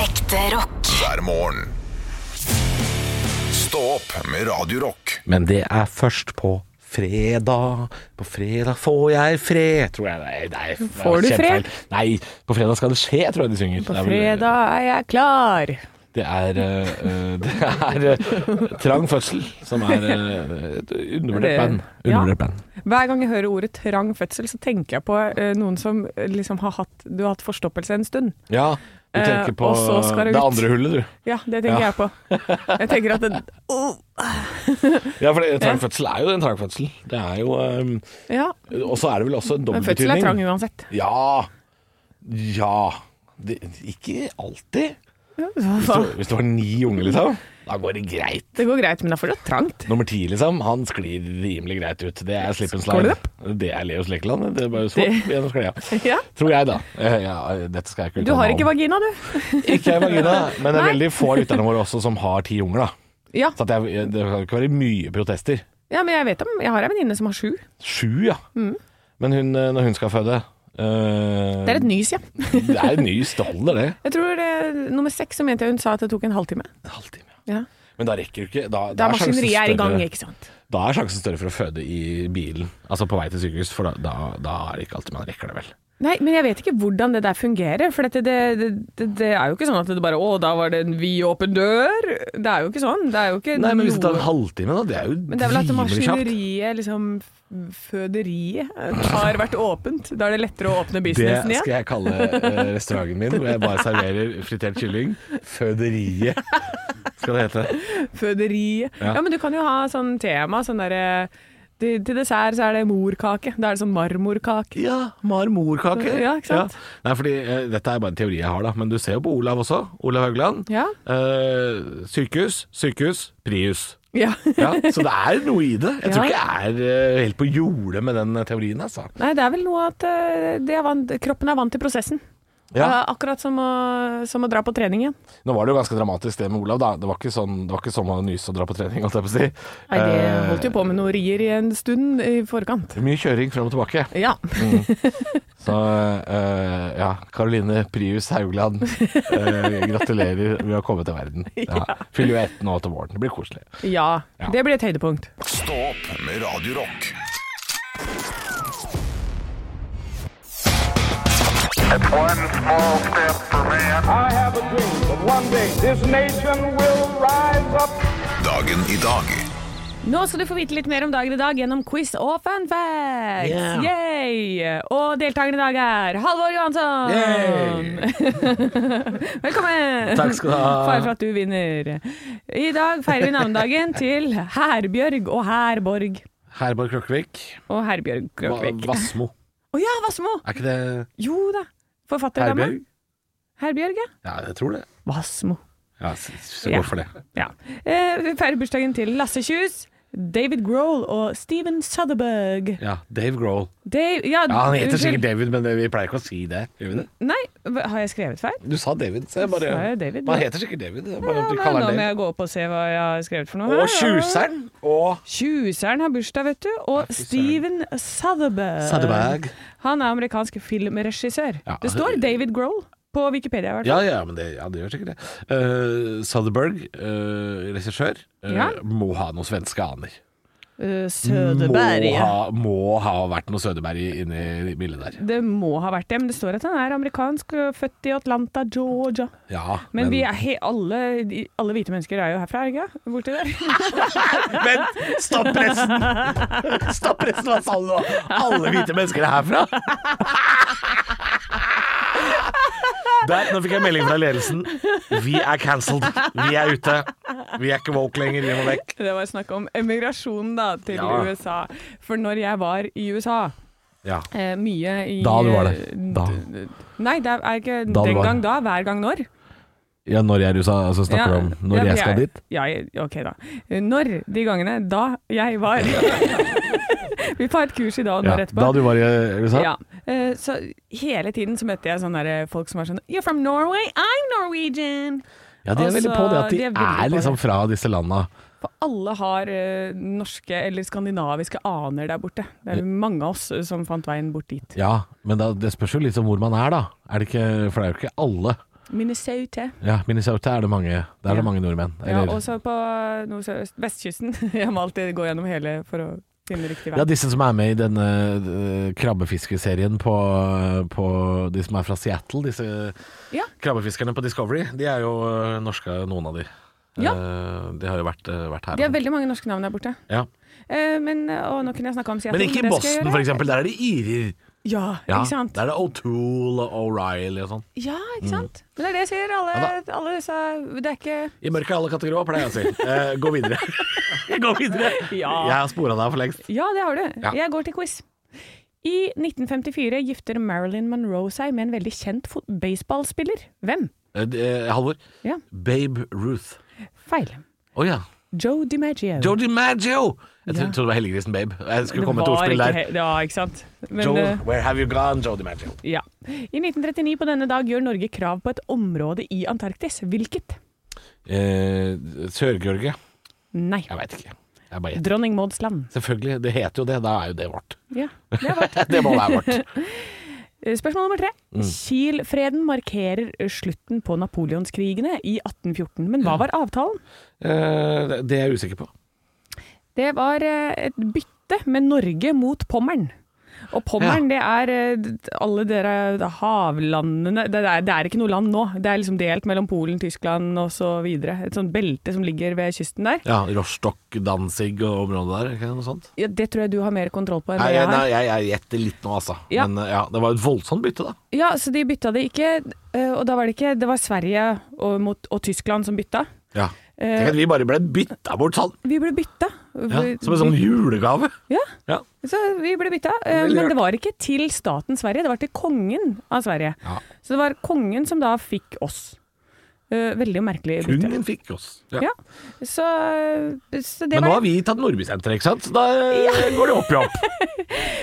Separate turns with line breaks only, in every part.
Ekte rock.
hver morgen. Stå opp med Radio Rock.
Men det er først på fredag. På fredag får jeg fred, tror jeg. Nei, nei det var
Får du
kjempefeil.
fred?
Nei, på fredag skal det skje, tror jeg de synger.
På
Det er vel-
fredag er jeg klar.
Det er, eh, det er eh, Trang fødsel, som er eh, et undervurdert
Det-
band.
ja.
Undervurdert band.
Hver gang jeg hører ordet trang fødsel, så tenker jeg på eh, noen som eh, liksom har hatt Du har hatt forstoppelse en stund.
Ja, du
Eh,
tenker på
og så skal det
det
ut.
andre hullet, du.
Ja, det tenker
Ja.
jeg på. Jeg tenker at det, oh,
Ja, for det- trang fødsel er jo en trang fødsel. Det er jo eh,
Ja.
Og så er det vel også en
Men fødsel er trang
dobbeltbetydning.
uansett.
Ja. Ja. Det, ikke alltid. Hvis
Hva?
du, hvis du har ni unger, liksom, da går det greit.
Det går greit, men det er fortsatt trangt.
Nummer ti, liksom, han sklir rimelig greit ut. Det er slip and
Skål i
slide. Det er Leos Lekeland. Det er bare svopp gjennom sklia.
Ja.
Tror jeg, da. Eh, Ja, dette skal jeg ikke
Du har ikke
vagina?
vagina, du.
Ikke jeg vagina, men det er
Nei.
veldig få av lytterne våre også som har ti unger, da.
Ja,
Så at jeg, det kan ikke være mye protester.
ja men jeg vet om Jeg har ei venninne som har sju.
Sju, ja. Men hun, eh, når hun skal føde eh,
Mm. Det er et nys, ja.
Det er et nys, det holder, det.
Jeg tror eh, nummer seks så mente jeg hun sa at det tok en halvtime.
En halvtime, ja.
Ja.
Men da rekker du ikke Da, da
Da
er sjansen
maskineriet er i gang,
større-
ikke sant.
Da er sjansen større for å føde i bilen, altså på vei til sykehus, for da, da, da er det ikke alltid man rekker det, vel.
Nei, men jeg vet ikke hvordan det der fungerer. For dette, det, det, det, det er jo ikke sånn at det bare Å, da var det en vidåpen dør. Det er jo ikke sånn. Det er jo ikke
Nei, men hvis det tar en
noe-
halvtime, da, det er jo
Men det er vel at
rimelig kjapt.
maskineriet, liksom f- føderiet, eh, har vært åpent. Da er det lettere å
Det
åpne businessen
skal
igjen.
jeg kalle eh, restauranten min, hvor jeg bare serverer fritert kylling. Føderiet, skal det hete.
Føderiet.
Ja.
Ja. men du kan jo ha sånn tema, sånn derre til, til dessert så er det morkake. Da er det sånn marmorkake.
Ja, marmorkake.
Ja, ikke sant?
Nei, fordi eh, dette er bare en teori jeg har, da. Men du ser jo på Olav også. Olav Haugland.
Ja.
Eh, sykehus, sykehus, Prius.
Ja.
Ja, så det er noe i det. Jeg tror
Ja.
ikke jeg er eh, helt på jordet med den teorien, altså.
Nei, det er vel noe at eh, det er vant, kroppen er vant til prosessen.
Ja.
Eh, Akkurat som å, som å dra på trening igjen.
Nå var det jo ganske dramatisk det med Olav, da. Det var ikke sånn, det var ikke sånn å nyse og dra på trening, holdt jeg på å si.
Nei, det
Eh,
holdt jo på med noen rier i en stund i forkant.
Mye kjøring frem og tilbake.
Ja.
Så eh, ja, Karoline Prius Haugland, eh, gratulerer med å komme til verden. Ja. Fyller jo ett nå til våren. Det blir koselig.
ja.
Ja.
Det blir et høydepunkt.
Stå opp med Radio Rock.
One small step for man.
I have a dream that one day this nation will rise up.
Dagen i dag.
Nå skal du få vite litt mer om dagen i dag gjennom quiz og fun facts.
Yeah.
Yay! Og deltakeren i dag er Halvor Johansson. Velkommen!
Takk skal du ha.
Fare for at du vinner. I dag feirer vi navnedagen til Herbjørg og Herborg.
Herborg Klokkevik.
Og Herbjørg
Va-
Krokvik. Å
Vassmo.
ja, Vassmo!
Er ikke det
Jo da. Forfatterdama.
Herbjørg?
Herbjørg, ja.
Ja, jeg tror det.
Vassmo.
Ja, s- s-
Ja.
går for det.
Ja. Eh, vi feirer bursdagen til Lasse Kjus, David Grohl og Steven Sutherberg.
Ja, Dave Grohl.
Dave, ja,
Ja, han heter
unnskyld.
sikkert David, men vi pleier ikke å si det. Gjør vi det?
Nei, hva- har jeg skrevet feil?
Du sa David, så jeg bare
Sa jeg David,
Man
ja.
heter sikkert David. Jeg bare,
Ja,
vi
nei,
kaller han
nå må
David.
jeg gå opp og se hva jeg har skrevet for noe.
Og
her.
Tjuseren og
Tjuseren har bursdag, vet du. Og Steven Sutherberg.
Sutherberg.
Han er amerikansk filmregissør.
Ja.
Det står David Grohl på Wikipedia. i hvert fall.
Ja, ja, men det, ja, det gjør sikkert det. Uh, Sutherberg, eh, regissør, eh,
Ja.
må ha noen svenske aner.
Eh, Söderberg,
Må,
ja.
ha, må ha vært noe Sødeberg inne i bildet der.
Det må ha vært det, men det står at han er amerikansk, øh, født i Atlanta, Georgia.
Ja,
Men, vi er he alle, de- alle hvite mennesker er jo herfra, er det ikke? Borti der.
Vent! Stopp pressen! Stopp pressen, hva sa du nå? Alle hvite mennesker er herfra! Der, nå fikk jeg melding fra ledelsen. Vi er cancelled. Vi er ute. Vi er ikke woke lenger. Vi må vekk.
Det var snakk om emigrasjon da, til
Ja.
USA. For når jeg var i USA
Ja.
eh, mye i
Da du var der. Da.
d- Nei, det er ikke
Da du
den
var
gang da, hver gang når.
Ja, når jeg er i USA, altså snakker
Ja,
du om når
ja,
jeg skal dit?
Ja, jeg- ok da. Eh, Når de gangene da jeg var Vi får et kurs i dag og nå
Ja,
etterpå.
da du var i USA?
Ja. Eh, så hele tiden så møtte jeg sånne der folk som var sånn You're from Norway, I'm Norwegian!
Ja, de er
Og
veldig på det at de,
så- Altså, de er
er,
veldig på
liksom fra disse landa.
For alle har eh, norske eller skandinaviske aner der borte. Det er mange av oss eh, som fant veien bort dit.
Ja, men da, det spørs jo liksom hvor man er, da. Er det ikke, for det er jo ikke alle.
Minnesota.
Ja, Minnesota er det mange, der er
Ja.
det mange nordmenn.
Ja,
Eller,
også på nord-sørøst. Vestkysten. Jeg må alltid gå gjennom hele for å finne riktig vei.
ja, disse som er med i denne eh, krabbefiskeserien på, eh, på De som er fra Seattle, disse
Ja.
krabbefiskerne på Discovery, de er jo eh, norske, noen av de.
Ja.
Eh, De har jo vært, eh, vært her.
De har veldig mange norske navn der borte.
ja.
Eh, men, og nå kunne jeg snakka om Seattle.
Men ikke i
det skal jeg
Boston,
gjøre.
for eksempel. Der er det irer.
Ja,
Ja,
ikke sant.
Der er det O'Toole og O'Reilly og sånn.
Ja, ikke sant. Men det er det jeg sier. Alle,
Ja
alle disse Det er ikke
I mørket er alle katter grå, pleier jeg å si. Eh, gå videre. gå videre.
Ja.
Jeg har spora deg for lengst.
Ja, det har du.
Ja.
Jeg går til quiz. I 1954 gifter Marilyn Monroe seg med en veldig kjent fot- baseballspiller. Hvem?
Eh, eh, Halvor.
Ja.
Babe Ruth.
Feil.
Å ja.
Joe DiMaggio.
Georgie Maggio! Jeg
Ja.
trodde det var Helliggrisen Babe. Jeg skulle
Det
komme med et
var
ordspill
ikke
der.
he- Ja, ikke sant. Men,
Joel,
eh,
where have you gone, Joe DiMaggio?
ja. I 1939 på denne dag gjør Norge krav på et område i Antarktis. Hvilket?
Eh, Sør-Georgia.
Nei.
Jeg veit ikke. Jeg bare gjetter.
Dronning Mauds land.
Selvfølgelig. Det heter jo det. Da er jo det vårt.
Ja, det var det.
Det må være vårt.
Eh, Spørsmål nummer tre. Kiel-freden markerer slutten på napoleonskrigene i 1814. Men hva var avtalen?
Eh, det- det er jeg usikker på.
Det var eh, et bytte med Norge mot Pommern. Og Pommern, det er eh, d- alle dere havlandene det er, det er ikke noe land nå. Det er liksom delt mellom Polen, Tyskland og så videre. Et sånt belte som ligger ved kysten der.
Ja, Rostock, Danzig og området der, ikke noe sånt?
Ja, det tror jeg du har mer kontroll på enn
Nei,
det
jeg,
jeg
nei,
har.
jeg, jeg gjetter litt nå, altså.
Ja.
Men eh, ja, det var et voldsomt bytte, da.
Ja, så de bytta det ikke, eh, og da var det ikke Det var Sverige og, mot, og Tyskland som bytta.
Ja.
Eh,
Tenk at vi bare ble bytta bort sånn,
Vi ble bytta.
ja, som en sånn julegave.
Ja.
Ja.
Så vi ble bytta. eh,
Veldig
Men
rart.
det var ikke til staten Sverige, det var til kongen av Sverige.
Ja.
Så det var kongen som da fikk oss. Eh, veldig merkelig bytte.
Kungen fikk oss.
Ja. Så, eh, så det
Men nå har
var
vi tatt Nordbysenteret, ikke sant? Så da eh, går det opp i opp.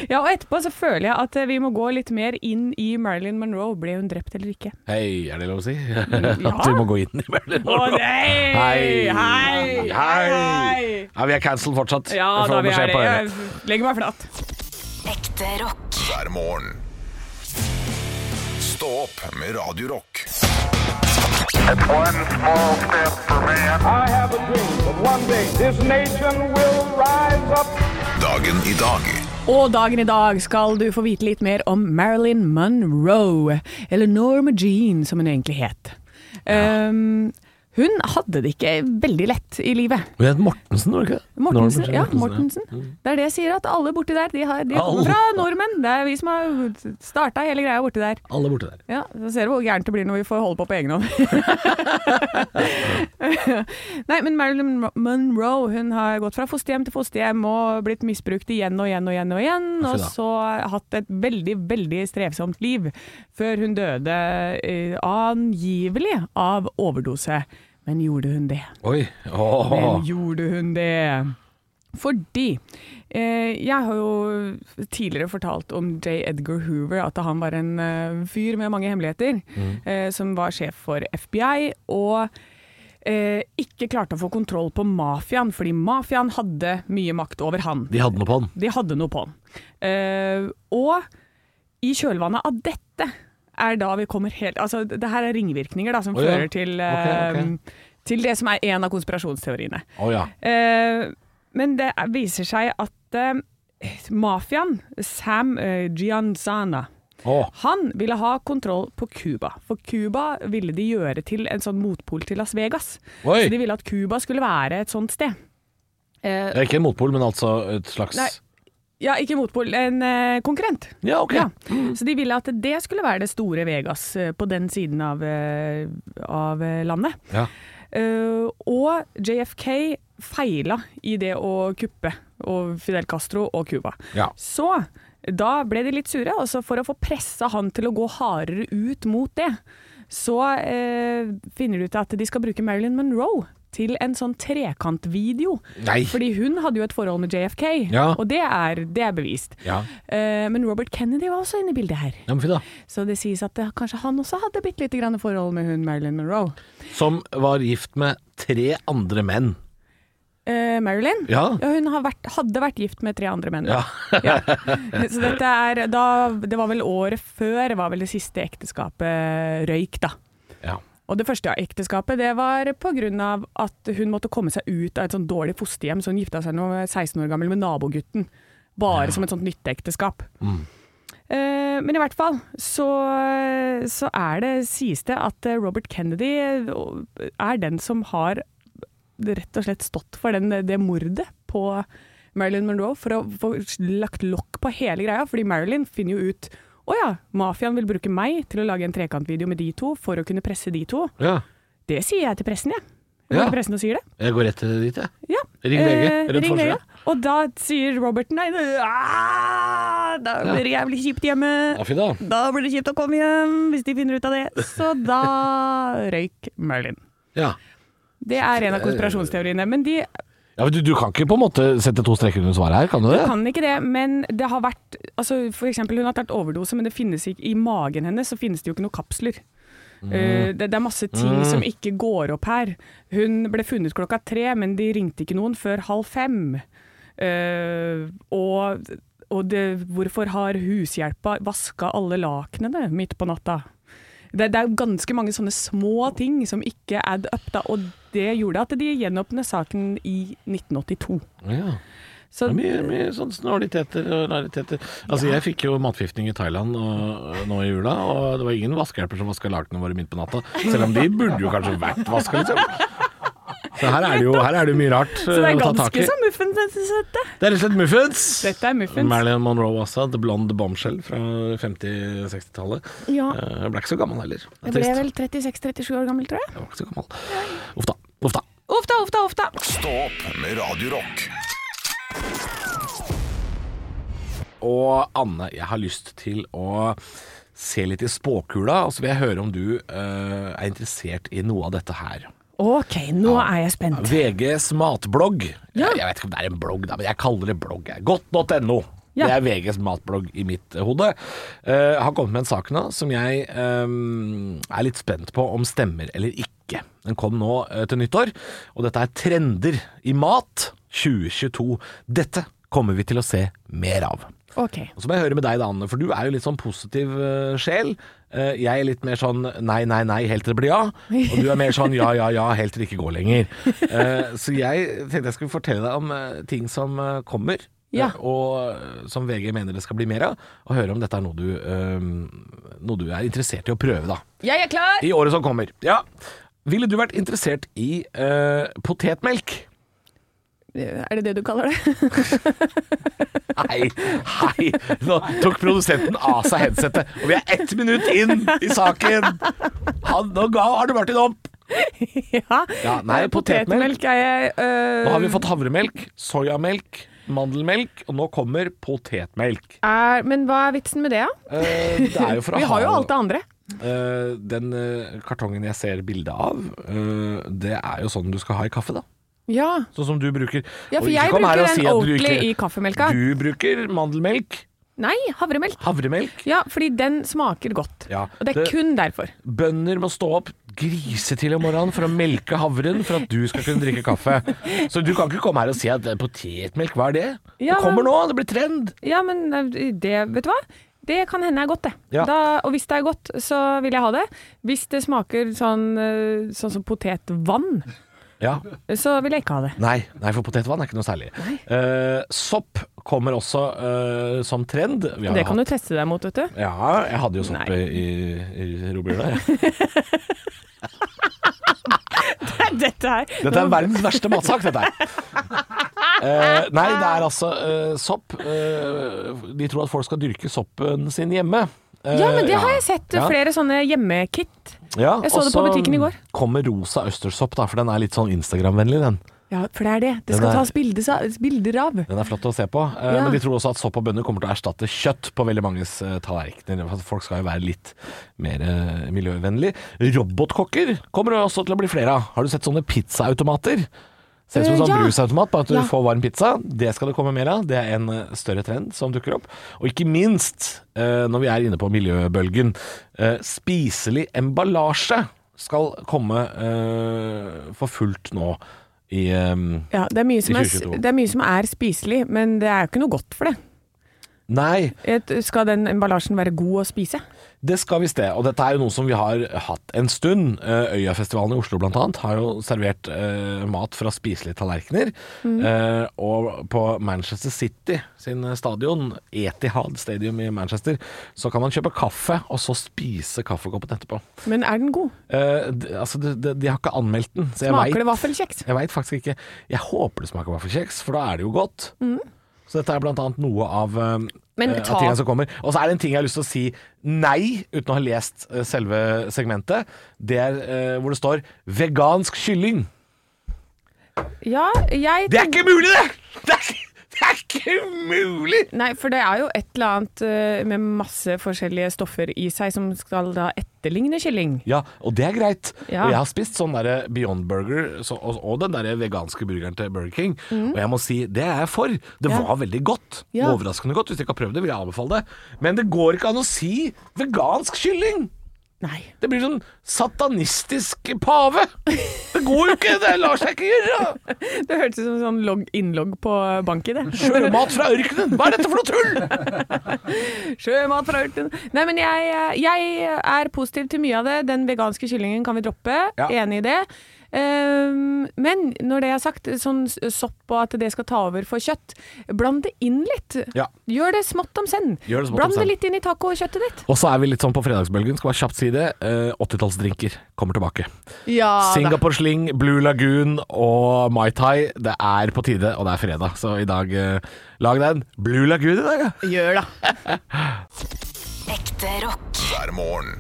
Ja, og etterpå så føler jeg at eh, vi må gå litt mer inn i Marilyn Monroe. Ble hun drept eller ikke?
Hei, er det lov å si?
ja.
At vi må gå inn i Berlin.
Å nei!
Hei!
Hei!
Hei! Ja, vi er cancelled fortsatt.
Ja,
Jeg får
da vi
beskjed
er
på
det.
øret.
Jeg legger meg flat.
Ekte rock.
hver morgen. Stå opp med Radio Rock.
It's one small step for man.
I have a dream that one day this nation will rise up.
Dagen i dag
Og dagen i dag skal du få vite litt mer om Marilyn Monroe, eller Norma Jean som hun egentlig het. Um, hun hadde det ikke veldig lett i livet.
Men det het Mortensen, var det ikke det?
Mortensen,
Norman
ja, Mm. Mortensen. Det er det jeg sier, at alle borti der, de, har, de
Alle.
kommer fra nordmenn. Det er vi som har starta hele greia borti der.
Alle borte der.
Ja, Så ser du hvor gærent det blir når vi får holde på på egen hånd. Nei, men Marilyn Mo- Monroe hun har gått fra fosterhjem til fosterhjem og blitt misbrukt igjen og igjen og igjen. Og igjen,
Ja, fy
og
da.
så hatt et veldig, veldig strevsomt liv før hun døde eh, angivelig av overdose. Men gjorde hun det?
Oi. Åh.
Men gjorde hun det? Fordi eh, jeg har jo tidligere fortalt om J. Edgar Hoover, at han var en eh, fyr med mange hemmeligheter,
Mm.
eh, som var sjef for FBI, og eh, ikke klarte å få kontroll på mafiaen, fordi mafiaen hadde mye makt over han.
De hadde noe på den.
De hadde noe på den. Eh, og i kjølvannet av dette er da vi kommer helt Altså, det her er ringvirkninger da, som
Å ja.
fører til, eh,
Ok, ok.
til det som er en av konspirasjonsteoriene.
Å ja.
Eh, men det er- viser seg at eh, mafiaen, Sam eh, Gianzana,
Åh.
han ville ha kontroll på Cuba. For Cuba ville de gjøre til en sånn motpol til Las Vegas.
Oi.
Så de ville at Cuba skulle være et sånt sted. Eh,
Det er ikke en motpol, men altså et slags
Nei. ja, ikke motpol, en eh, konkurrent.
Ja, ok.
Ja. Så de ville at det skulle være det store Vegas eh, på den siden av, eh, av eh, landet.
Ja.
Eh, og JFK feila i det å kuppe og Fidel Castro og Cuba.
Ja.
Så da ble de litt sure, og så for å få pressa han til å gå hardere ut mot det, så eh, finner de ut at de skal bruke Marilyn Monroe til en sånn trekantvideo.
Nei.
Fordi hun hadde jo et forhold med JFK,
Ja.
og det er, det er bevist.
Ja.
Eh, men Robert Kennedy var også inne i bildet her.
Ja, men fy da.
Så det sies at eh, kanskje han også hadde bitte lite grann forhold med hun Marilyn Monroe.
Som var gift med tre andre menn.
Eh, Marilyn?
Ja.
hun har vært, hadde vært gift med tre andre menn.
Ja.
Ja. Så dette er da Det var vel året før var vel det siste ekteskapet røyk, da.
Ja.
Og det første ekteskapet det var pga. at hun måtte komme seg ut av et sånn dårlig fosterhjem, så hun gifta seg nå med 16 år gammel med nabogutten. Bare som et sånt nytteekteskap. Eh, men i hvert fall så, så er det, sies det, at eh, Robert Kennedy eh, er den som har rett og slett stått for den, det mordet på Marilyn Monroe, for å få lagt lokk på hele greia. Fordi Marilyn finner jo ut å ja, mafiaen vil bruke meg til å lage en trekantvideo med de to for å kunne presse de to.
ja.
Det sier jeg til pressen, jeg.
Ja.
Jeg går til pressen og sier det.
Jeg går rett til det dit, jeg.
Ja.
Ring lege,
Eh,
rødt
ring
forside.
lege. Og da sier Robert nei, det, ah, da blir det jævlig kjipt hjemme.
Ja, fy da.
Da blir det kjipt å komme hjem, hvis de finner ut av det. Så da røyk Merlin.
Ja.
Det er en av konspirasjonsteoriene. Men de
Ja, men du, du kan ikke på en måte sette to streker under svaret her, kan du det?
kan ikke det, men det har vært altså For eksempel, hun har tatt overdose, men det finnes ikke, i magen hennes så finnes det jo ikke noen kapsler. Eh, det, det er masse ting som ikke går opp her. Hun ble funnet klokka tre, men de ringte ikke noen før halv fem. Eh, og og det, hvorfor har hushjelpa vaska alle lakenene midt på natta? Det, det er jo ganske mange sånne små ting som ikke add up, da, og det gjorde at de gjenåpnet saken i 1982.
Ja.
Så
Det er mye, mye sånn snåliteter og rariteter. Altså, Jeg fikk jo matforgiftning i Thailand og, nå i jula, og det var ingen vaskehjelper som vaska lakenene våre midt på natta. Selv om de burde jo kanskje vært vaska, liksom. Så her er det jo her er det jo mye rart
Så det
eh,
er
å ta tak
ganske sånn
i.
så muffent, dette.
Det er rett og slett muffins.
Dette er muffins.
Marilyn Monroe også. The Blonde Bombshell fra 50-60-tallet.
Ja.
Eh, Ble ikke så gammel heller. Det er
Jeg ble
trist.
vel 36-37 år gammel, tror jeg.
Jeg var ikke så gammel. Uff da. Uff da.
Uff da, uff da, uff da.
Stå opp med Radio Rock.
Og Anne, jeg har lyst til å se litt i spåkula, og så vil jeg høre om du eh, er interessert i noe av dette her.
OK, nå er jeg spent.
VGs matblogg. Jeg, jeg vet ikke om det er en blogg, da, men jeg kaller det blogg. jeg. Godt.no.
Ja.
Det er VGs matblogg i mitt eh, hode. Eh, har kommet med en sak nå som jeg eh, er litt spent på om stemmer eller ikke. Den kom nå eh, til nyttår, og dette er Trender i mat 2022. Dette kommer vi til å se mer av.
OK.
Og så må jeg høre med deg da, Anne, for du er jo litt sånn positiv eh, sjel. Eh, jeg er litt mer sånn nei, nei, nei, helt til det blir ja. Og du er mer sånn ja, ja, ja, helt til det ikke går lenger. Eh, så jeg tenkte jeg skulle fortelle deg om eh, ting som eh, kommer. eh,
Ja.
Og eh, som VG mener det skal bli mer av, og høre om dette er noe du, eh, noe du er interessert i å prøve, da.
Jeg er klar!
I året som kommer. Ja. Ville du vært interessert i eh, potetmelk?
Er det det du kaller det?
Hei, hei Nå tok produsenten av seg headsetet Og vi er ett minutt inn i saken Han, Nå ga Arne Martin opp
ja. Eh,
Ja, nei, potetmelk.
er jeg øh,
Nå har vi fått havremelk, sojamelk, mandelmelk Og nå kommer potetmelk
er, Men hva er vitsen med det, da?
Eh, Det er jo for å
Vi har jo
ha-
alt det andre.
Eh, Den eh, kartongen jeg ser bildet av eh, Det er jo sånn du skal ha i kaffe da
Ja.
Sånn som du bruker
Ja,
Og
for
ikke
jeg
kom her og
bruker den
si at du
Oatly
ikke-
i kaffemelka.
Du bruker mandelmelk,
Nei, havremelk.
havremelk
Ja, fordi den smaker godt.
Ja,
Og det er
det-
kun derfor.
Bønder må stå opp grisetidlig om morgenen for å melke havren for at du skal kunne drikke kaffe. Så du kan ikke komme her og si at eh, potetmelk, hva er det?
Ja,
det kommer nå, det blir trend.
Ja, men eh, det, vet du hva? Det kan hende er godt, det.
Ja.
Da, og hvis det er godt, så vil jeg ha det. Hvis det smaker sånn, eh, sånn som potetvann,
Ja.
så vil jeg ikke ha det.
Nei, nei, for potetvann er ikke noe særlig. Eh, sopp kommer også eh, som trend. Vi har
Det kan
hatt-
du teste deg mot, vet du.
Ja, jeg hadde jo sopp
Nei.
i, i romjula. jeg.
Dette her
Dette er verdens verste matsak, dette her. Eh, nei, det er altså eh, sopp. eh, de tror at folk skal dyrke soppen sin hjemme. Eh,
Ja, men det har jeg sett.
Ja.
Flere sånne hjemmekit.
Ja,
Jeg så det på
og
butikken i går.
kommer rosa østersopp, da, for den er litt sånn Instagram-vennlig, den.
Ja, for det er det. Det
Den
skal
er-
tas bildes av- bilder av.
Den er flott å se på. Eh,
Ja.
Men de tror også at sopp og bønner kommer til å erstatte kjøtt på veldig manges eh, tallerkener. for Folk skal jo være litt mer eh, miljøvennlig. Robotkokker kommer det også til å bli flere av. Har du sett sånne pizzaautomater? Ser ut som en
Eh,
sånn
ja.
brusautomat, bare at du
Ja.
får varm pizza. Det skal det komme mer av. Det er en eh, større trend som dukker opp. Og ikke minst, eh, når vi er inne på miljøbølgen, eh, spiselig emballasje skal komme eh, for fullt nå i eh,
Ja, det er, mye som
I
er,
2022.
det er mye som er spiselig, men det er jo ikke noe godt for det.
Nei,
Et, skal den emballasjen være god å spise?
det skal visst det. Og dette er jo noe som vi har hatt en stund. Eh, Øyafestivalen i Oslo blant annet har jo servert eh, mat fra spiselige tallerkener.
Mm.
Eh, og på Manchester City sin eh, stadion, Etihad Stadium i Manchester, så kan man kjøpe kaffe og så spise kaffekoppen etterpå.
Men er den god?
Eh, d- altså, de, de, de har ikke anmeldt den. Så jeg
Smaker
vet-
det vaffelkjeks?
Jeg veit faktisk ikke. Jeg håper det smaker vaffelkjeks, for da er det jo godt. Så dette er blant annet noe av, eh,
Mm. Men
eh,
ta-
av tingene som kommer. Og så er det en ting jeg har lyst til å si nei, uten å ha lest eh, selve segmentet. Det er eh, hvor det står 'vegansk kylling'.
Ja, jeg
Det er ikke mulig, det! Det er, ikke- det er ikke mulig!
Nei, for det er jo et eller annet eh, med masse forskjellige stoffer i seg som skal da etterligne kylling.
Ja, og det er greit.
Ja.
Og jeg har spist sånn derre Beyond Burger så, og, og den derre veganske burgeren til Burger King, og jeg må si det er jeg for. Det
Mm. Ja.
var veldig godt.
Ja.
Overraskende godt. Hvis du ikke har prøvd det, vil jeg anbefale det. Men det går ikke an å si vegansk kylling!
Nei.
Det blir sånn satanistisk pave. Det går jo ikke! Det lar seg ikke gjøre!
Det hørtes ut som sånn logg, innlogg på bank i det.
Sjømat fra ørkenen! Hva er dette for noe tull?!
Sjømat fra ørten. Nei, men jeg, jeg er positiv til mye av det. Den veganske kyllingen kan vi droppe.
Ja.
Enig i det. Ehm, men når det er sagt, sånn s- sopp og at det skal ta over for kjøtt, bland det inn litt.
Ja.
Gjør det smått om senn.
Gjør det smått om
Bland det
senn.
litt inn i tacokjøttet ditt.
Og så er vi litt sånn på fredagsbølgen, skal bare kjapt si det. Eh, 80-tallsdrinker kommer tilbake.
Ja,
Singapore Sling, Blue Lagoon og Mai Tai. Det er på tide, og det er fredag. Så i dag eh, lag deg en Blue Lagoon i dag, ja.
Gjør det.
Ekte rock.
hver morgen.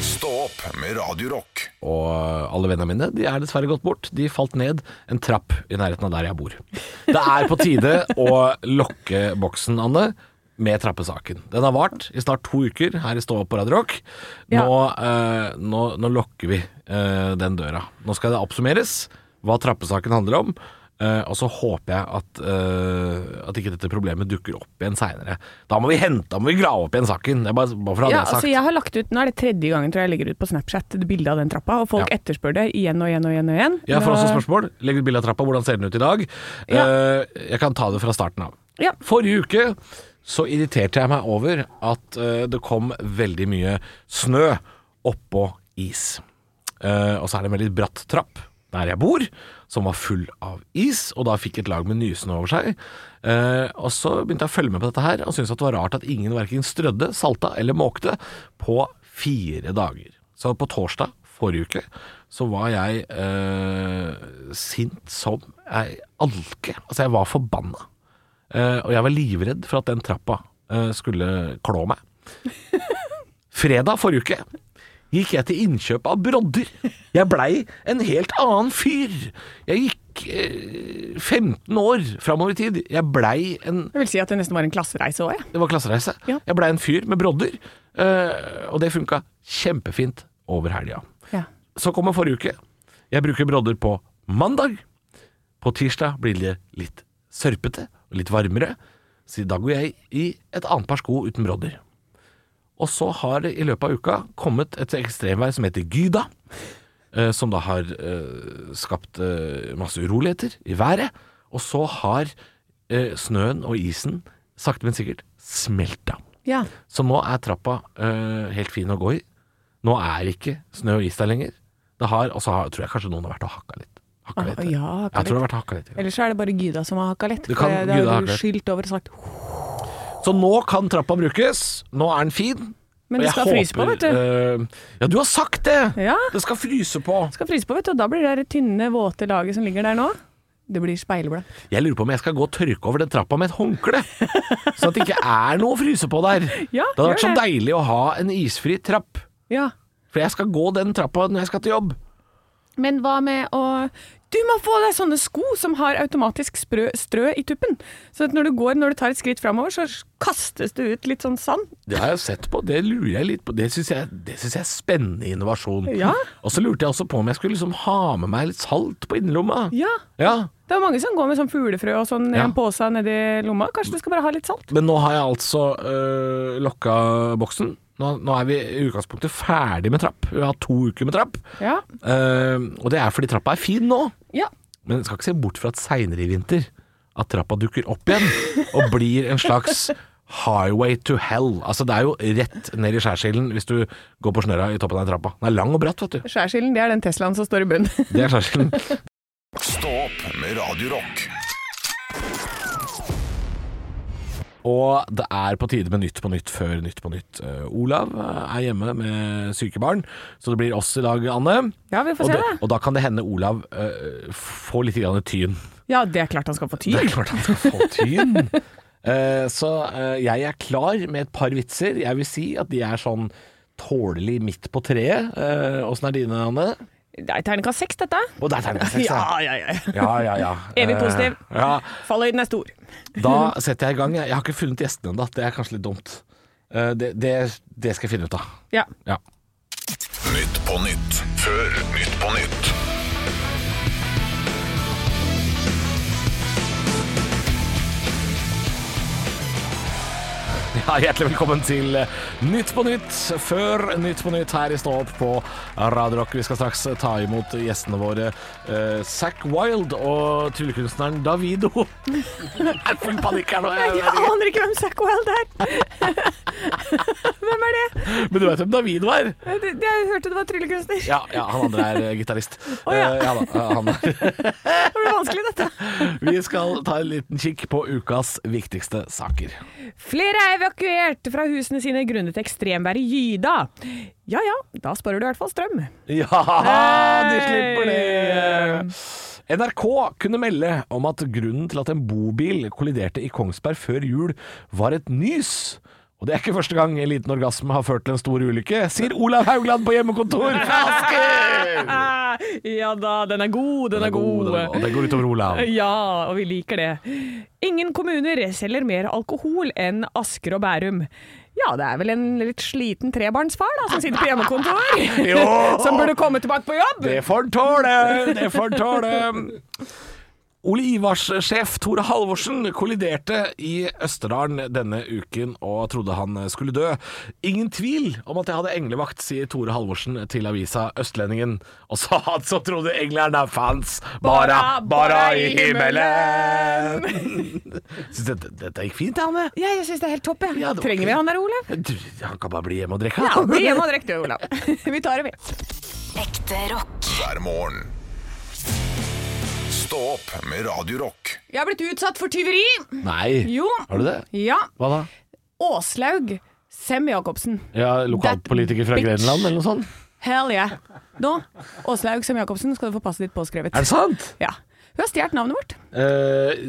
Stå opp med Radio Rock.
Og alle vennene mine de er dessverre gått bort. De falt ned en trapp i nærheten av der jeg bor. Det er på tide å lokke boksen, Anne. Med trappesaken. Den har vart i snart to uker her i Stå opp på Radio Rock. Nå, eh, nå, nå lokker vi eh, den døra. Nå skal det oppsummeres hva trappesaken handler om. eh, og så håper jeg at, eh, at ikke dette problemet dukker opp igjen seinere. Da må vi hente, da må vi grave opp igjen saken. Det er bare, bare for å ha
Ja,
det sagt.
altså jeg har lagt ut, Nå er det tredje gangen tror jeg legger ut på Snapchat et bilde av den trappa, og folk
Ja.
etterspør det igjen og igjen og igjen. og igjen.
Jeg får
Nå-
også spørsmål. Legg ut bilde av trappa. Hvordan ser den ut i dag?
Ja.
Eh, jeg kan ta det fra starten av.
Ja.
Forrige uke så irriterte jeg meg over at eh, det kom veldig mye snø oppå is. Eh, og så er det en veldig bratt trapp der jeg bor, som var full av is, og da fikk et lag med nysnø over seg. Eh, og så begynte jeg å følge med på dette her, og syntes at det var rart at ingen verken strødde, salta eller måkte på fire dager. Så på torsdag forrige uke så var jeg eh, sint som ei alke. Altså, jeg var forbanna. Eh, og jeg var livredd for at den trappa eh, skulle klå meg. Fredag forrige uke gikk jeg til innkjøp av brodder. Jeg blei en helt annen fyr. Jeg gikk eh, 15 år framover i tid. Jeg blei en
Jeg vil si at det nesten var en klassereise òg, jeg.
Det var klassereise.
Ja.
Jeg blei en fyr med brodder, eh, og det funka kjempefint over helga.
Ja.
Så kommer forrige uke. Jeg bruker brodder på mandag. På tirsdag blir det litt sørpete og litt varmere, så da går jeg i et annet par sko uten brodder. Og så har det i løpet av uka kommet et ekstremvær som heter Gyda, eh, som da har eh, skapt eh, masse uroligheter i været. Og så har eh, snøen og isen sakte, men sikkert smelta.
Ja.
Så nå er trappa øh, helt fin å gå i. Nå er ikke snø og is der lenger. Det har, og så har, tror jeg kanskje noen har vært og hakka litt. Hakka
Ah,
litt.
ja, hakka
jeg tror det har vært hakka litt. ja.
Eller så er det bare Gyda som har hakka lett.
Det
Det,
kan- Gyda har
det har
hakka
du
lett.
skylt over og sagt
Så nå kan trappa brukes. Nå er den fin.
Men
Og
det
jeg
skal fryse på, vet du.
øh, ja, du har sagt det!
Ja.
Det skal fryse på.
Skal fryse på, vet du, og da blir det der tynne, våte laget som ligger der nå, det blir speilblatt.
Jeg lurer på om jeg skal gå og tørke over den trappa med et håndkle. sånn at det ikke er noe å fryse på der.
Ja,
det hadde vært så
gjør det.
deilig å ha en isfri trapp.
Ja.
For jeg skal gå den trappa når jeg skal til jobb.
Men hva med å Du må få deg sånne sko som har automatisk sprø, strø i tuppen. Så at når du går, når du tar et skritt framover, så kastes det ut litt sånn sand.
Det har jeg sett på, det lurer jeg litt på. Det syns jeg, det synes jeg er spennende innovasjon.
Ja.
Og så lurte jeg også på om jeg skulle liksom ha med meg litt salt på innerlomma.
Ja.
Ja.
Det er mange som går med sånn fuglefrø og sånn i
Ja.
en pose nedi lomma. Kanskje du skal bare ha litt salt?
Men nå har jeg altså øh, lokka boksen. Nå, nå er vi i utgangspunktet ferdig med trapp. Vi har hatt to uker med trapp.
Ja.
Eh, og det er fordi trappa er fin nå.
ja.
Men jeg skal ikke se bort fra at seinere i vinter at trappa dukker opp igjen og blir en slags highway to hell. Altså det er jo rett ned i skjærsilden hvis du går på snørra i toppen av den trappa. Den er lang og bratt, vet du.
Skjærsilden, det er den Teslaen som står i bunnen.
Det er skjærsilden.
Stå opp med Radio Rock.
Og det er på tide med Nytt på nytt før Nytt på nytt. Eh, Olav eh, er hjemme med syke barn, så det blir oss i dag, Anne.
Ja, vi
og,
får se
det,
det.
og da kan det hende Olav eh, får litt grann tyn.
Ja, det er klart han skal få
Det
tyr.
er klart han skal få tyn. Eh, så eh, jeg er klar med et par vitser. Jeg vil si at de er sånn tålelig midt på treet. Eh, Åssen er dine, Anne?
Det er terningkast seks, dette.
Og der tegner jeg seks,
Ja, ja, ja.
ja, ja, ja.
Evig positiv.
Eh, ja.
Fallhøyden er stor.
Da setter jeg i gang. Jeg jeg har ikke funnet gjestene ennå. Det er kanskje litt dumt. Eh, det, det, det skal jeg finne ut av.
Ja.
Ja.
Nytt på nytt før Nytt på nytt.
Ja, hjertelig velkommen til eh, Nytt på Nytt før Nytt på Nytt her i Stå opp på Radio Rock. Vi skal straks ta imot gjestene våre eh, Zack Wilde og tryllekunstneren Davido. Jeg er full panikk her nå. jeg
Jeg
vet ikke.
aner ikke hvem Zack Wilde er. hvem er det?
Men du vet hvem Davido er?
Det- det- Jeg hørte det var tryllekunstner.
Ja, ja han andre er eh, gitarist.
Å, ja.
Eh, ja da, eh, han er.
Det blir vanskelig, dette.
Vi skal ta en liten kikk på ukas viktigste saker.
Flere er evakuert fra husene sine grunnet ekstremvær i Gyda. Ja ja, da sparer du i hvert fall strøm.
Ja, de slipper
Hey!
det! NRK kunne melde om at grunnen til at en bobil kolliderte i Kongsberg før jul, var et nys. Og det er ikke første gang en liten orgasme har ført til en stor ulykke, sier Olav Haugland på hjemmekontor fra Asker!
Ah, ja da, den er god, den, er, god.
den er god. Og det går utover Olav.
Ja, og vi liker det. Ingen kommuner selger mer alkohol enn Asker og Bærum. Ja, det er vel en litt sliten trebarnsfar da, som sitter på hjemmekontor.
Jo!
Som burde komme tilbake på jobb.
Det får han tåle! Det får han tåle! Ole Ivars-sjef Tore Halvorsen kolliderte i Østerdalen denne uken og trodde han skulle dø. Ingen tvil om at jeg hadde englevakt, sier Tore Halvorsen til avisa Østlendingen. Og sa han som trodde englerne fans bare, bare i himmelen! Synes jeg, dette- dette gikk fint, Anne.
Ja, jeg syns det er helt topp. jeg.
Ja, det var
Trenger vi
fint.
han der, Olav?
Du, Han kan bare bli hjemme og drikke.
Ja,
han.
bli hjemme og drekk du, Olav. Vi tar det, vi.
Ekte rock.
hver morgen. Stå opp med Radio Rock.
Jeg har blitt utsatt for tyveri.
Nei.
Jo.
Har du det?
Ja.
Hva da?
Åslaug Sem-Jacobsen.
Ja,
lokalpolitiker
Lokalpolitiker
fra
fra
That bitch.
Grenland
Grenland
eller noe sånt?
Hell yeah. Nå, Åslaug Sem-Jacobsen, skal du få passet ditt påskrevet.
Er det sant?
Ja. Hun har stjålet navnet vårt.
Eh,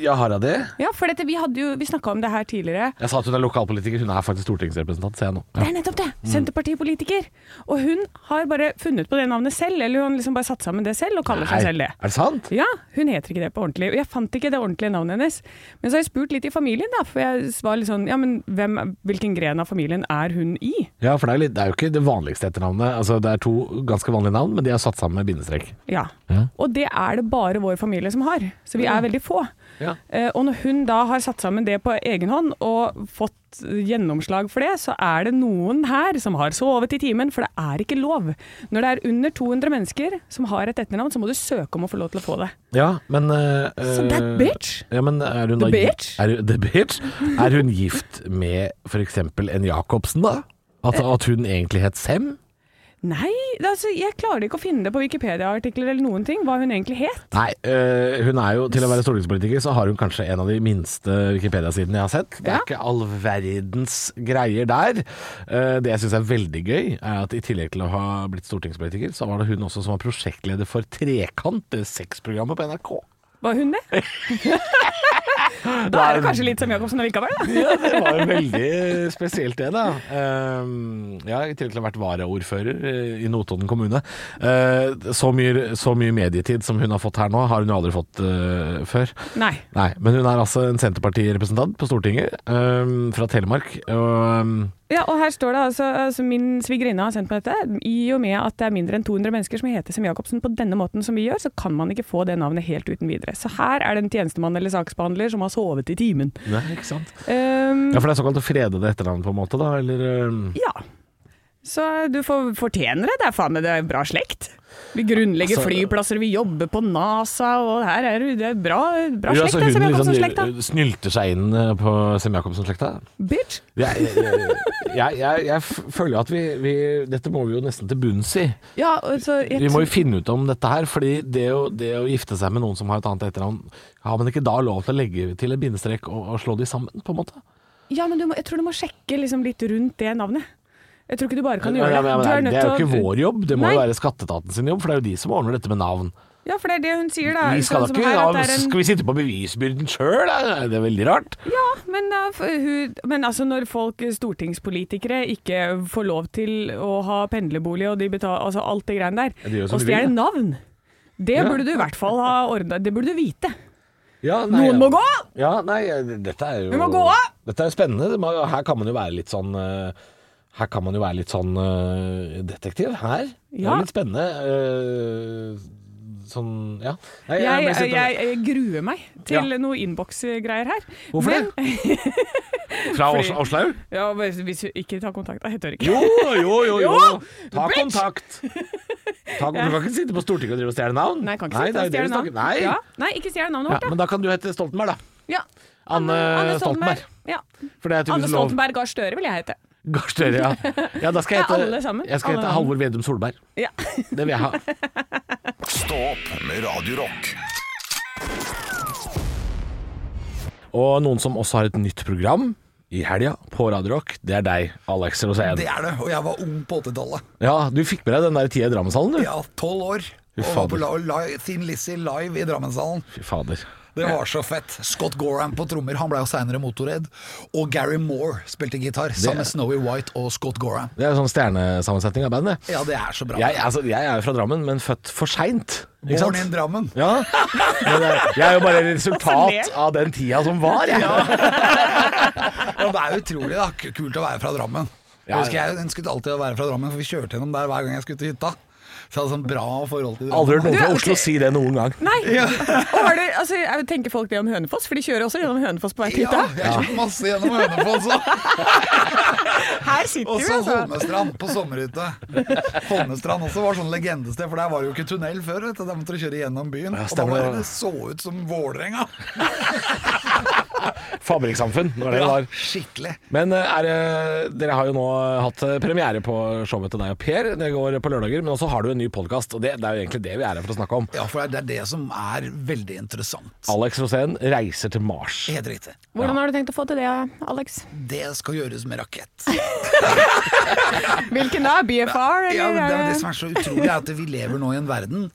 ja, har jeg det?
Ja, for dette, vi, hadde jo, vi snakka om det her tidligere.
Jeg sa at hun er lokalpolitiker. Hun er faktisk stortingsrepresentant, ser jeg nå.
Det er nettopp det! Senterpartipolitiker. Og hun har bare funnet på det navnet selv, eller hun har liksom bare satt sammen det selv og kaller seg selv det.
Er det sant?
Ja, hun heter ikke det på ordentlig, og jeg fant ikke det ordentlige navnet hennes. Men så har jeg spurt litt i familien, da, for jeg var litt sånn ja, men hvem, hvilken gren av familien er hun i?
Ja, for det er, litt, det er jo ikke det vanligste etternavnet. Altså, det er to ganske vanlige navn, men de er satt sammen med bindestrek.
Ja.
Ja.
Og det er det bare vår familie som har, så vi er veldig få.
Ja.
Eh, og når hun da har satt sammen det på egen hånd og fått eh, gjennomslag for det, så er det noen her som har sovet i timen, for det er ikke lov. Når det er under 200 mennesker som har et etternavn, så må du søke om å få lov til å få det.
Ja, men eh,
So that bitch?
Ja, men er hun
The
da,
bitch?
Er, hun- the bitch? Er hun gift med f.eks. en Jacobsen, da? At, at hun egentlig het Sem?
Nei, det er altså, jeg klarer ikke å finne det på Wikipedia-artikler eller noen ting, hva hun egentlig het.
Nei, eh, hun er jo til å være stortingspolitiker, så har hun kanskje en av de minste Wikipedia-sidene jeg har sett. Det er
Ja.
ikke all verdens greier der. Eh, det jeg syns er veldig gøy, er at i tillegg til å ha blitt stortingspolitiker, så var det hun også som var prosjektleder for Trekant, det sexprogrammet på NRK.
Var hun det? da er det kanskje litt som Jacobsen allikevel, da.
Ja, det var jo veldig spesielt det, da. Um, ja, i tillegg til å ha vært varaordfører eh, i Notodden kommune. Eh, så, mye, så mye medietid som hun har fått her nå, har hun jo aldri fått eh, før.
Nei.
Nei, men hun er altså en Senterparti-representant på Stortinget øhm, fra Telemark. Og, ehm, øhm,
Ja, og her står det altså, altså min svigerinne har sendt meg dette. I og med at det er mindre enn 200 mennesker som heter Sem Jacobsen på denne måten som vi gjør, så kan man ikke få det navnet helt uten videre. Så her er det en tjenestemann eller saksbehandler som har sovet i timen.
Nei, ikke sant?
Ehm,
ehm, Ja, for det er såkalt å frede det etternavnet, på en måte, da? Eller øhm,
ja. Så du for, fortjener det. Det er faen meg det er bra slekt. Vi grunnlegger
Altså-
flyplasser, vi jobber på NASA, og her er det- det er bra, bra
Jo, altså,
sånn slekt. det,
hun
Sem
liksom
Jacobsen-slekta.
de- snylter seg inn eh, på Sem Jacobsen-slekta.
Bitch.
Jeg, jeg, jeg, jeg, jeg f- føler at vi, vi Dette må vi jo nesten til bunns i.
Ja, altså, jeg
Vi må jo
tror-
finne ut om dette her, fordi det å, det å gifte seg med noen som har et annet etternavn, har man ikke da lov til å legge til en bindestrek og, og slå de sammen, på en måte?
ja, men du må, jeg tror du må sjekke liksom litt rundt det navnet. Jeg tror ikke du bare kan
Ja,
gjøre
ja,
det.
men
Du
det,
nødt
det er jo
til
ikke
å-
vår jobb, det må
Nei.
jo være skatteetaten sin jobb, for det er jo de som ordner dette med navn.
Ja, for det er det hun sier, da.
Vi skal da
Sånn som
ikke
her, at
ha,
det er en-
Skal vi sitte på bevisbyrden sjøl? Det er veldig rart.
Ja, men, da, f- hun, men altså når folk, stortingspolitikere, ikke får lov til å ha pendlerbolig og de betal, altså alt det
Ja,
greiene
de
der,
gjør som
og
de vil,
stjeler navn, det
Ja.
burde du i hvert fall ha ordna. Det burde du vite.
Ja, nei,
Noen må gå!
Ja, nei, dette er jo
Vi må gå av!
Dette er jo spennende. Det må, her kan man jo være litt sånn eh, Her kan man jo være litt sånn eh, detektiv. Her. Det
Ja.
er litt spennende. eh, sånn Ja. Nei,
Jeg,
ble
jeg,
sittende-
jeg gruer meg til
Ja.
noe innboksgreier her.
Hvorfor
men, det?
Fra
fordi-
Oslo- Oslaug?
Ja, men hvis du ikke tar kontakt, da. Jeg tør ikke.
Jo, jo, jo, jo!
Jo,
Ta
bitch!
kontakt. Ta, du kan ikke sitte på Stortinget og drive og stjele navn.
Nei, jeg kan ikke si
det er
ta
jo det vi
stjele
snakker-
navn.
Nei.
Ja. Nei, ikke stjele navnet
Ja,
vårt,
men
da.
da kan du hete Stoltenberg, da.
Ja.
Anne, Stoltenberg.
Ja.
For det er
Anne
tydeligvis lov.
Stoltenberg Gahr Støre vil jeg hete.
Gahr Støre, ja. ja da skal jeg
Ja,
hete,
alle sammen.
jeg skal
Alle
hete
sammen.
Halvor Vedum Solberg.
Ja.
Det vil jeg ha.
Stå opp med Radio Rock.
Og noen som også har et nytt program i helga på Radio Rock, det er deg, Alex Rosén.
Det er det, og jeg var ung på 80-tallet.
Ja, du fikk med deg den der tida i Drammenshallen, du.
Ja, tolv år. Og var på la, la, Thin Lizzie live i Drammenshallen.
Fy fader.
Det var så fett. Scott Gorham på trommer, han ble jo seinere Motorhead. Og Gary Moore spilte gitar, sammen med Snowy White og Scott Gorham.
Det er jo sånn stjernesammensetning av bandet.
Ja, det er så bra.
Jeg, altså, jeg er jo fra Drammen, men født for seint. Ikke
Born in
sant?
Drammen.
Ja. Men det er- jeg er jo bare et resultat av den tida som var, jeg.
Ja, det er utrolig da, K- kult å være fra Drammen.
Ja,
Jeg husker jeg ønsket alltid å være fra Drammen, for vi kjørte gjennom der hver gang jeg skulle til hytta. Så jeg hadde sånn bra forhold til
Aldri hørt
Drammen.
noen fra
Du er-
Oslo si det noen gang.
Nei! Og har du, altså, jeg tenker folk det om Hønefoss, for de kjører også gjennom Hønefoss på vei til
Ja,
hytta.
jeg kjørte masse gjennom Hønefoss også.
Her sitter
og
vi,
så
altså.
Holmestrand på sommerhytte. Holmestrand også var sånn legendested, for der var det jo ikke tunnel før. Vet du. Der måtte du kjøre gjennom byen. og da
stemmer
var
det.
det, det så ut som Vålerenga.
Fabrikksamfunn, når det var.
skikkelig.
Men eh, er, det- dere har jo nå hatt eh, premiere på showet til deg og Per. Det går på lørdager, men også har du en ny podkast. Og det, det er jo egentlig det vi er her for å snakke om.
Ja, for det er det som er veldig interessant.
Alex Rosén reiser til Mars.
Helt riktig.
Hvordan har du tenkt å få til det, Alex?
Det skal gjøres med rakett.
Hvilken da? BFR,
Ja,
eller? eh,
men det er
er
jo det
det-
som er så utrolig, er at vi lever nå i en verden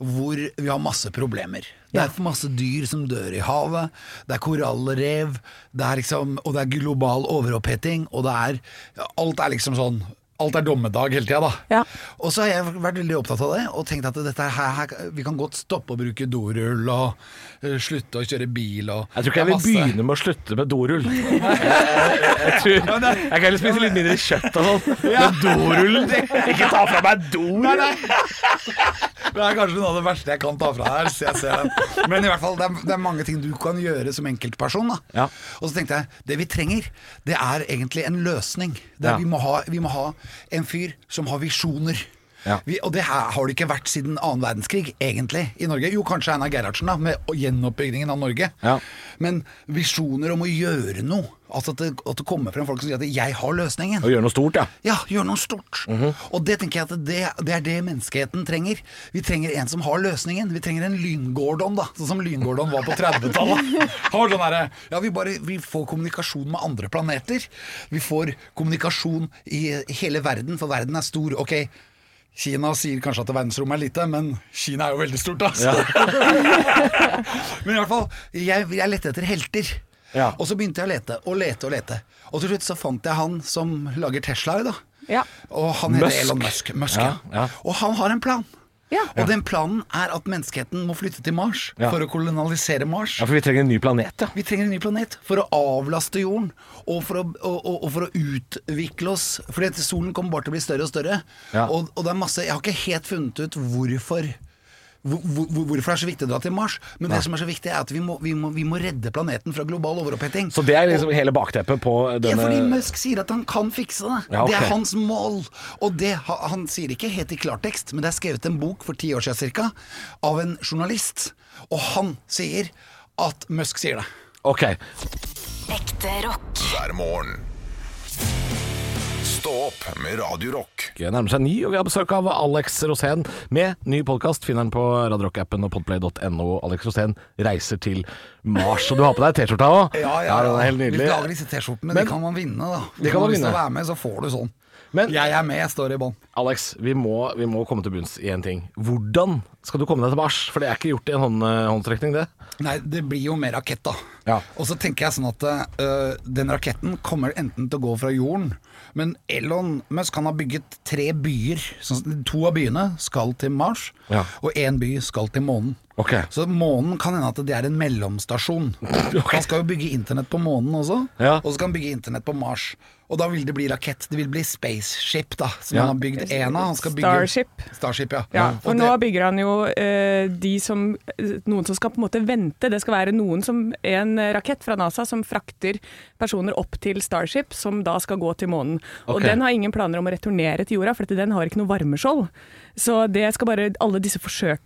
hvor vi har masse problemer. Det er masse dyr som dør i havet, det er korallrev, det er liksom, og det er global overoppheting, og det er ja, Alt er liksom sånn Alt er dommedag hele tida, da.
Ja.
Og så har jeg vært veldig opptatt av det, og tenkt at dette her, her Vi kan godt stoppe å bruke dorull, og eh, slutte å kjøre bil, og
Jeg tror ikke jeg
det
vil
er masse-
begynne med å slutte med dorull. Jeg, jeg, jeg, tror, jeg kan heller spise litt mindre kjøtt og sånn. Men dorullen Ikke ta fra meg dorull!
Det er kanskje noe av det verste jeg kan ta fra deg her. Så jeg ser den. Men i hvert fall, det er, det er mange ting du kan gjøre som enkeltperson. Da.
Ja.
Og så tenkte jeg det vi trenger, det er egentlig en løsning. Det er,
Ja.
vi, må ha, vi må ha en fyr som har visjoner.
Ja.
Vi, og det her har det ikke vært siden annen verdenskrig, egentlig, i Norge. Jo, kanskje Einar Gerhardsen, da, med gjenoppbyggingen av Norge.
Ja.
Men visjoner om å gjøre noe. Altså at det, at det kommer frem folk som sier at 'jeg har løsningen'.
Å gjøre noe stort, ja.
Ja, gjør noe stort. Og det tenker jeg at det, det er det menneskeheten trenger. Vi trenger en som har løsningen. Vi trenger en Lyngordon, da. Sånn som Lyngordon var på 30-tallet. Han var sånn derre Ja, vi bare vi får kommunikasjon med andre planeter. Vi får kommunikasjon i hele verden, for verden er stor. Ok. Kina sier kanskje at verdensrommet er lite, men Kina er jo veldig stort, da. Men i hvert fall, jeg, jeg lette etter helter.
Ja.
Og så begynte jeg å lete og lete og lete. Og til slutt så fant jeg han som lager Teslaer, da.
Ja.
Og han heter
Musk.
Elon Musk. Musk
Ja,
ja,
ja.
Og han har en plan.
Ja.
Og den planen er at menneskeheten må flytte til Mars
Ja.
for å kolonialisere Mars.
Ja, For vi trenger en ny planet, ja.
Vi trenger en ny planet for å avlaste jorden, og for å, og, og, og for å utvikle oss. Fordi at solen kommer bare til å bli større og større.
Ja.
Og, og det er masse Jeg har ikke helt funnet ut hvorfor hvor, hvor, hvorfor det er så viktig å dra til Mars. Men det som er så viktig, er at vi må, vi må, vi må redde planeten fra global overoppheting.
Så det er liksom hele bakteppet på
Ja, fordi
denne
Musk sier at han kan fikse det.
Ja, ok.
Det er hans mål. Og det, ha- han sier ikke helt i klartekst, men det er skrevet en bok for ti år siden cirka, av en journalist, og han sier at Musk sier det.
Ok.
Ekte rock.
hver morgen. Stå opp med Radio Rock.
Det nærmer seg ni, og vi har besøk av Alex Rosén med ny podkast. Finner den på Radarock-appen og podplay.no. Alex Rosén reiser til Mars. Og du har på deg T-skjorta òg? den er helt
Vi lager
nydelig.
disse T-skjortene,
Men-
de kan man vinne, da. Hvis
De kan man
har lyst til å
vinne.
være med, så får du sånn.
Men-
jeg er med, jeg står i bånn.
Alex, vi må, vi må komme til bunns i én ting. Hvordan skal du komme deg til Mars? For det er ikke gjort i en hånd, håndstrekning, det.
Nei, det blir jo med rakett, da.
Ja.
Og så tenker jeg sånn at øh, den raketten kommer enten til å gå fra jorden, men Elon Musk han har bygget tre byer. Sånn, at to av byene skal til Mars,
Ja.
og én by skal til månen.
Ok.
Så månen kan hende at det er en mellomstasjon. Han skal jo bygge internett på månen også,
Ja.
og så skal han bygge internett på Mars. Og da vil det bli rakett. Det vil bli spaceship, da, som
Ja.
han har bygd én av. Han skal bygge
Starship.
Starship, ja.
Ja,
Og
for nå bygger han jo eh, de som, noen som skal på en måte vente. Det skal være noen som, en rakett fra NASA som frakter personer opp til Starship, som da skal gå til månen. Og
Ok.
den har ingen planer om å returnere til jorda, for dette- den har ikke noe varmeskjold. Så det skal bare, alle disse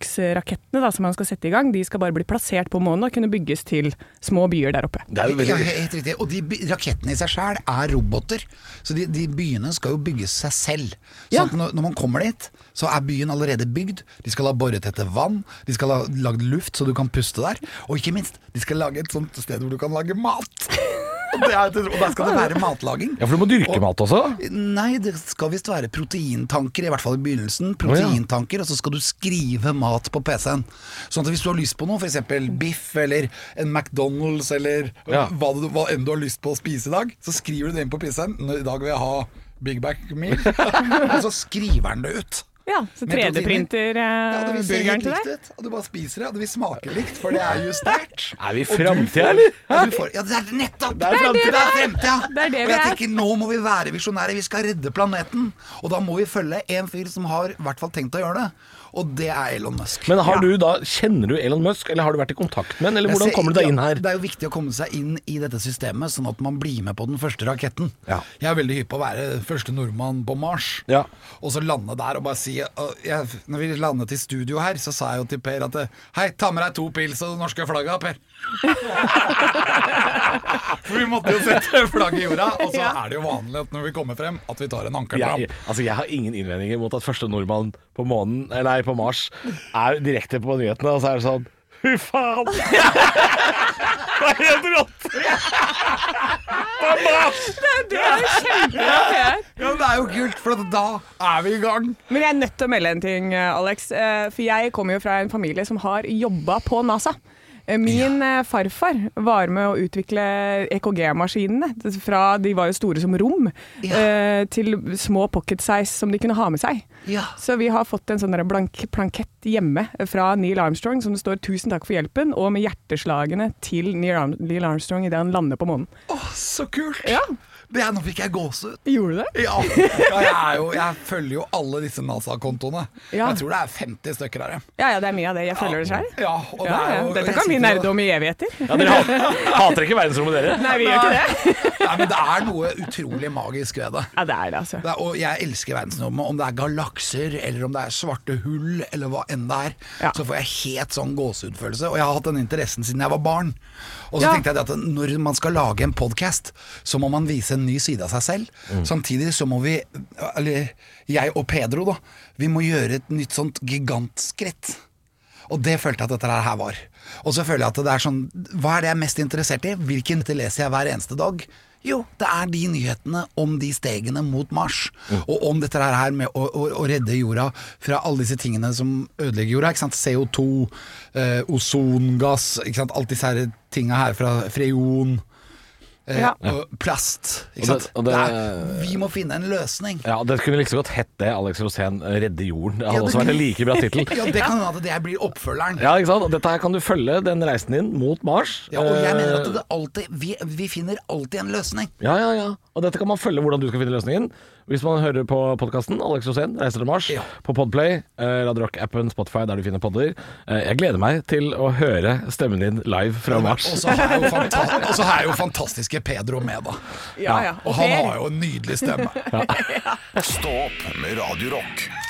forsøksrakettene da, som han skal sette i gang, de skal bare bli plassert på månen og kunne bygges til små byer der oppe.
Det er jo
Ja,
veldig
helt riktig. Og de by- rakettene i seg sjøl er roboter. Så de, de byene skal jo bygge seg selv. Så
Ja.
at når, når man kommer dit, så er byen allerede bygd. De skal ha boret etter vann. De skal ha lagd luft så du kan puste der. Og ikke minst, de skal lage et sånt sted hvor du kan lage mat. Og, det er, og der skal det være matlaging.
Ja, for du må dyrke
Og-
mat også?
Nei, det skal visst være proteintanker, i hvert fall i begynnelsen.
ja.
Proteintanker, Og så skal du skrive mat på PC-en. Sånn at hvis du har lyst på noe, f.eks. biff eller en McDonald's eller
Ja.
hva, du, hva enn du har lyst på å spise i dag, så skriver du det inn på PC-en. Nå, I dag vil jeg ha Big Back Meal. og så skriver den det ut.
Ja, så
Med proteiner.
3D-printer
Ja, det vil se
eh, burgeren
helt
til deg.
likt ut, og du bare spiser det, og det vil smake likt, for det er justert.
Er vi i
Og du
framtida,
får-
eller?
Ja, du får, ja, det er nettopp!
Det er framtida.
Det er fremtida.
Det er det
og
vi
jeg
er.
tenker, nå må vi være visjonære, vi skal redde planeten. Og da må vi følge en fyr som har i hvert fall tenkt å gjøre det, og det er Elon Musk.
Men har du da, kjenner du Elon Musk, eller har du vært i kontakt med han, eller hvordan
Jeg ser-
kommer du deg inn
ja,
her?
Det er jo viktig å komme seg inn i dette systemet, sånn at man blir med på den første raketten.
Ja.
Jeg er veldig hypp på å være første nordmann på Mars,
Ja.
og så lande der og bare si og jeg, Når vi landet i studio her, så sa jeg jo til Per at Hei, ta med deg to pils og det norske flagget, Per. For vi måtte jo sette flagget i jorda, og så er det jo vanlig at når vi kommer frem, at vi tar en ankertramp.
Jeg, altså jeg har ingen innvendinger mot at første nordmann på, månen, eh, nei, på Mars er direkte på nyhetene, og så er det sånn Fy faen! Det er helt rått! Det er Mars!
Det er jo kjempebra! det her.
Ja, men det er jo kult, for da er vi i gang.
Men jeg er nødt til å melde en ting, eh, Alex. eh, For jeg kommer jo fra en familie som har jobba på NASA. Eh, Min eh, farfar var med å utvikle EKG-maskinene. Fra de var jo store som rom,
Ja.
eh, til små pocket-size som de kunne ha med seg.
Ja.
Så vi har fått en sånn der blank plankett hjemme fra Neil Armstrong som det står 'Tusen takk for hjelpen', og med hjerteslagene til Neil Arm- Neil Armstrong idet han lander på månen.
Å, så kult.
Ja.
Det er, nå fikk jeg gåsehud.
Gjorde du det?
Ja, ja jeg, er jo, jeg følger jo alle disse NASA-kontoene.
Ja.
Jeg tror det er 50 stykker av dem.
Ja ja, det er mye av det. Jeg følger det sjøl.
Ja, og det
Ja,
er
ja.
jo,
Dette kan vi
jeg sitter
nerde
jo-
om i evigheter.
Ja, dere hater, hater ikke verdensrommet, dere?
Nei, vi gjør ikke det.
Nei, men det er noe utrolig magisk ved det.
Ja, det er det, altså.
det er, og jeg elsker verdensrommet. Om det er galakser, eller om det er svarte hull, eller hva enn det er,
Ja.
så får jeg helt sånn gåsehudfølelse. Og jeg har hatt den interessen siden jeg var barn. Og så
Ja.
tenkte jeg det at når man skal lage en podkast, så må man vise en ny side av seg selv. Samtidig så må vi, eller jeg og Pedro, da, vi må gjøre et nytt sånt gigantskritt. Og det følte jeg at dette her var. Og så føler jeg at det er sånn Hva er det jeg er mest interessert i? Hvilken nyheter leser jeg hver eneste dag? Jo, det er de nyhetene om de stegene mot Mars.
Mm.
Og om dette her med å, å, å redde jorda fra alle disse tingene som ødelegger jorda. Ikke sant? CO2, eh, ozongass, ikke sant? alt disse her tinga her fra freon. Eh,
Ja.
og Plast.
Og det-
Ikke sant?
og det-
er, vi må finne en løsning.
Ja, Det kunne like så godt hett det. Alex Rosén eh, redde jorden. Det
Ja,
hadde
det
også vært en
kunne-
like bra tittel.
Ja, det kan hende at det blir oppfølgeren.
Ja, ikke sant? Og Dette her kan du følge den reisen din mot Mars.
Ja, og jeg mener at
Eh,
det alltid, vi, vi finner alltid en løsning.
Ja, ja, ja. Og dette kan man følge hvordan du skal finne løsningen. Hvis man hører på podkasten Alex Rosén, 'Reiser til Mars',
Ja.
på Podplay, eh, Radio Rock-appen, Spotify, der du finner podder. Eh, jeg gleder meg til å høre stemmen din live fra Mars.
Og så er jo, fanta- og så er jo fantastiske Pedro med, da.
Ja, ja.
Og han har jo en nydelig stemme.
Stå opp med Radio Rock.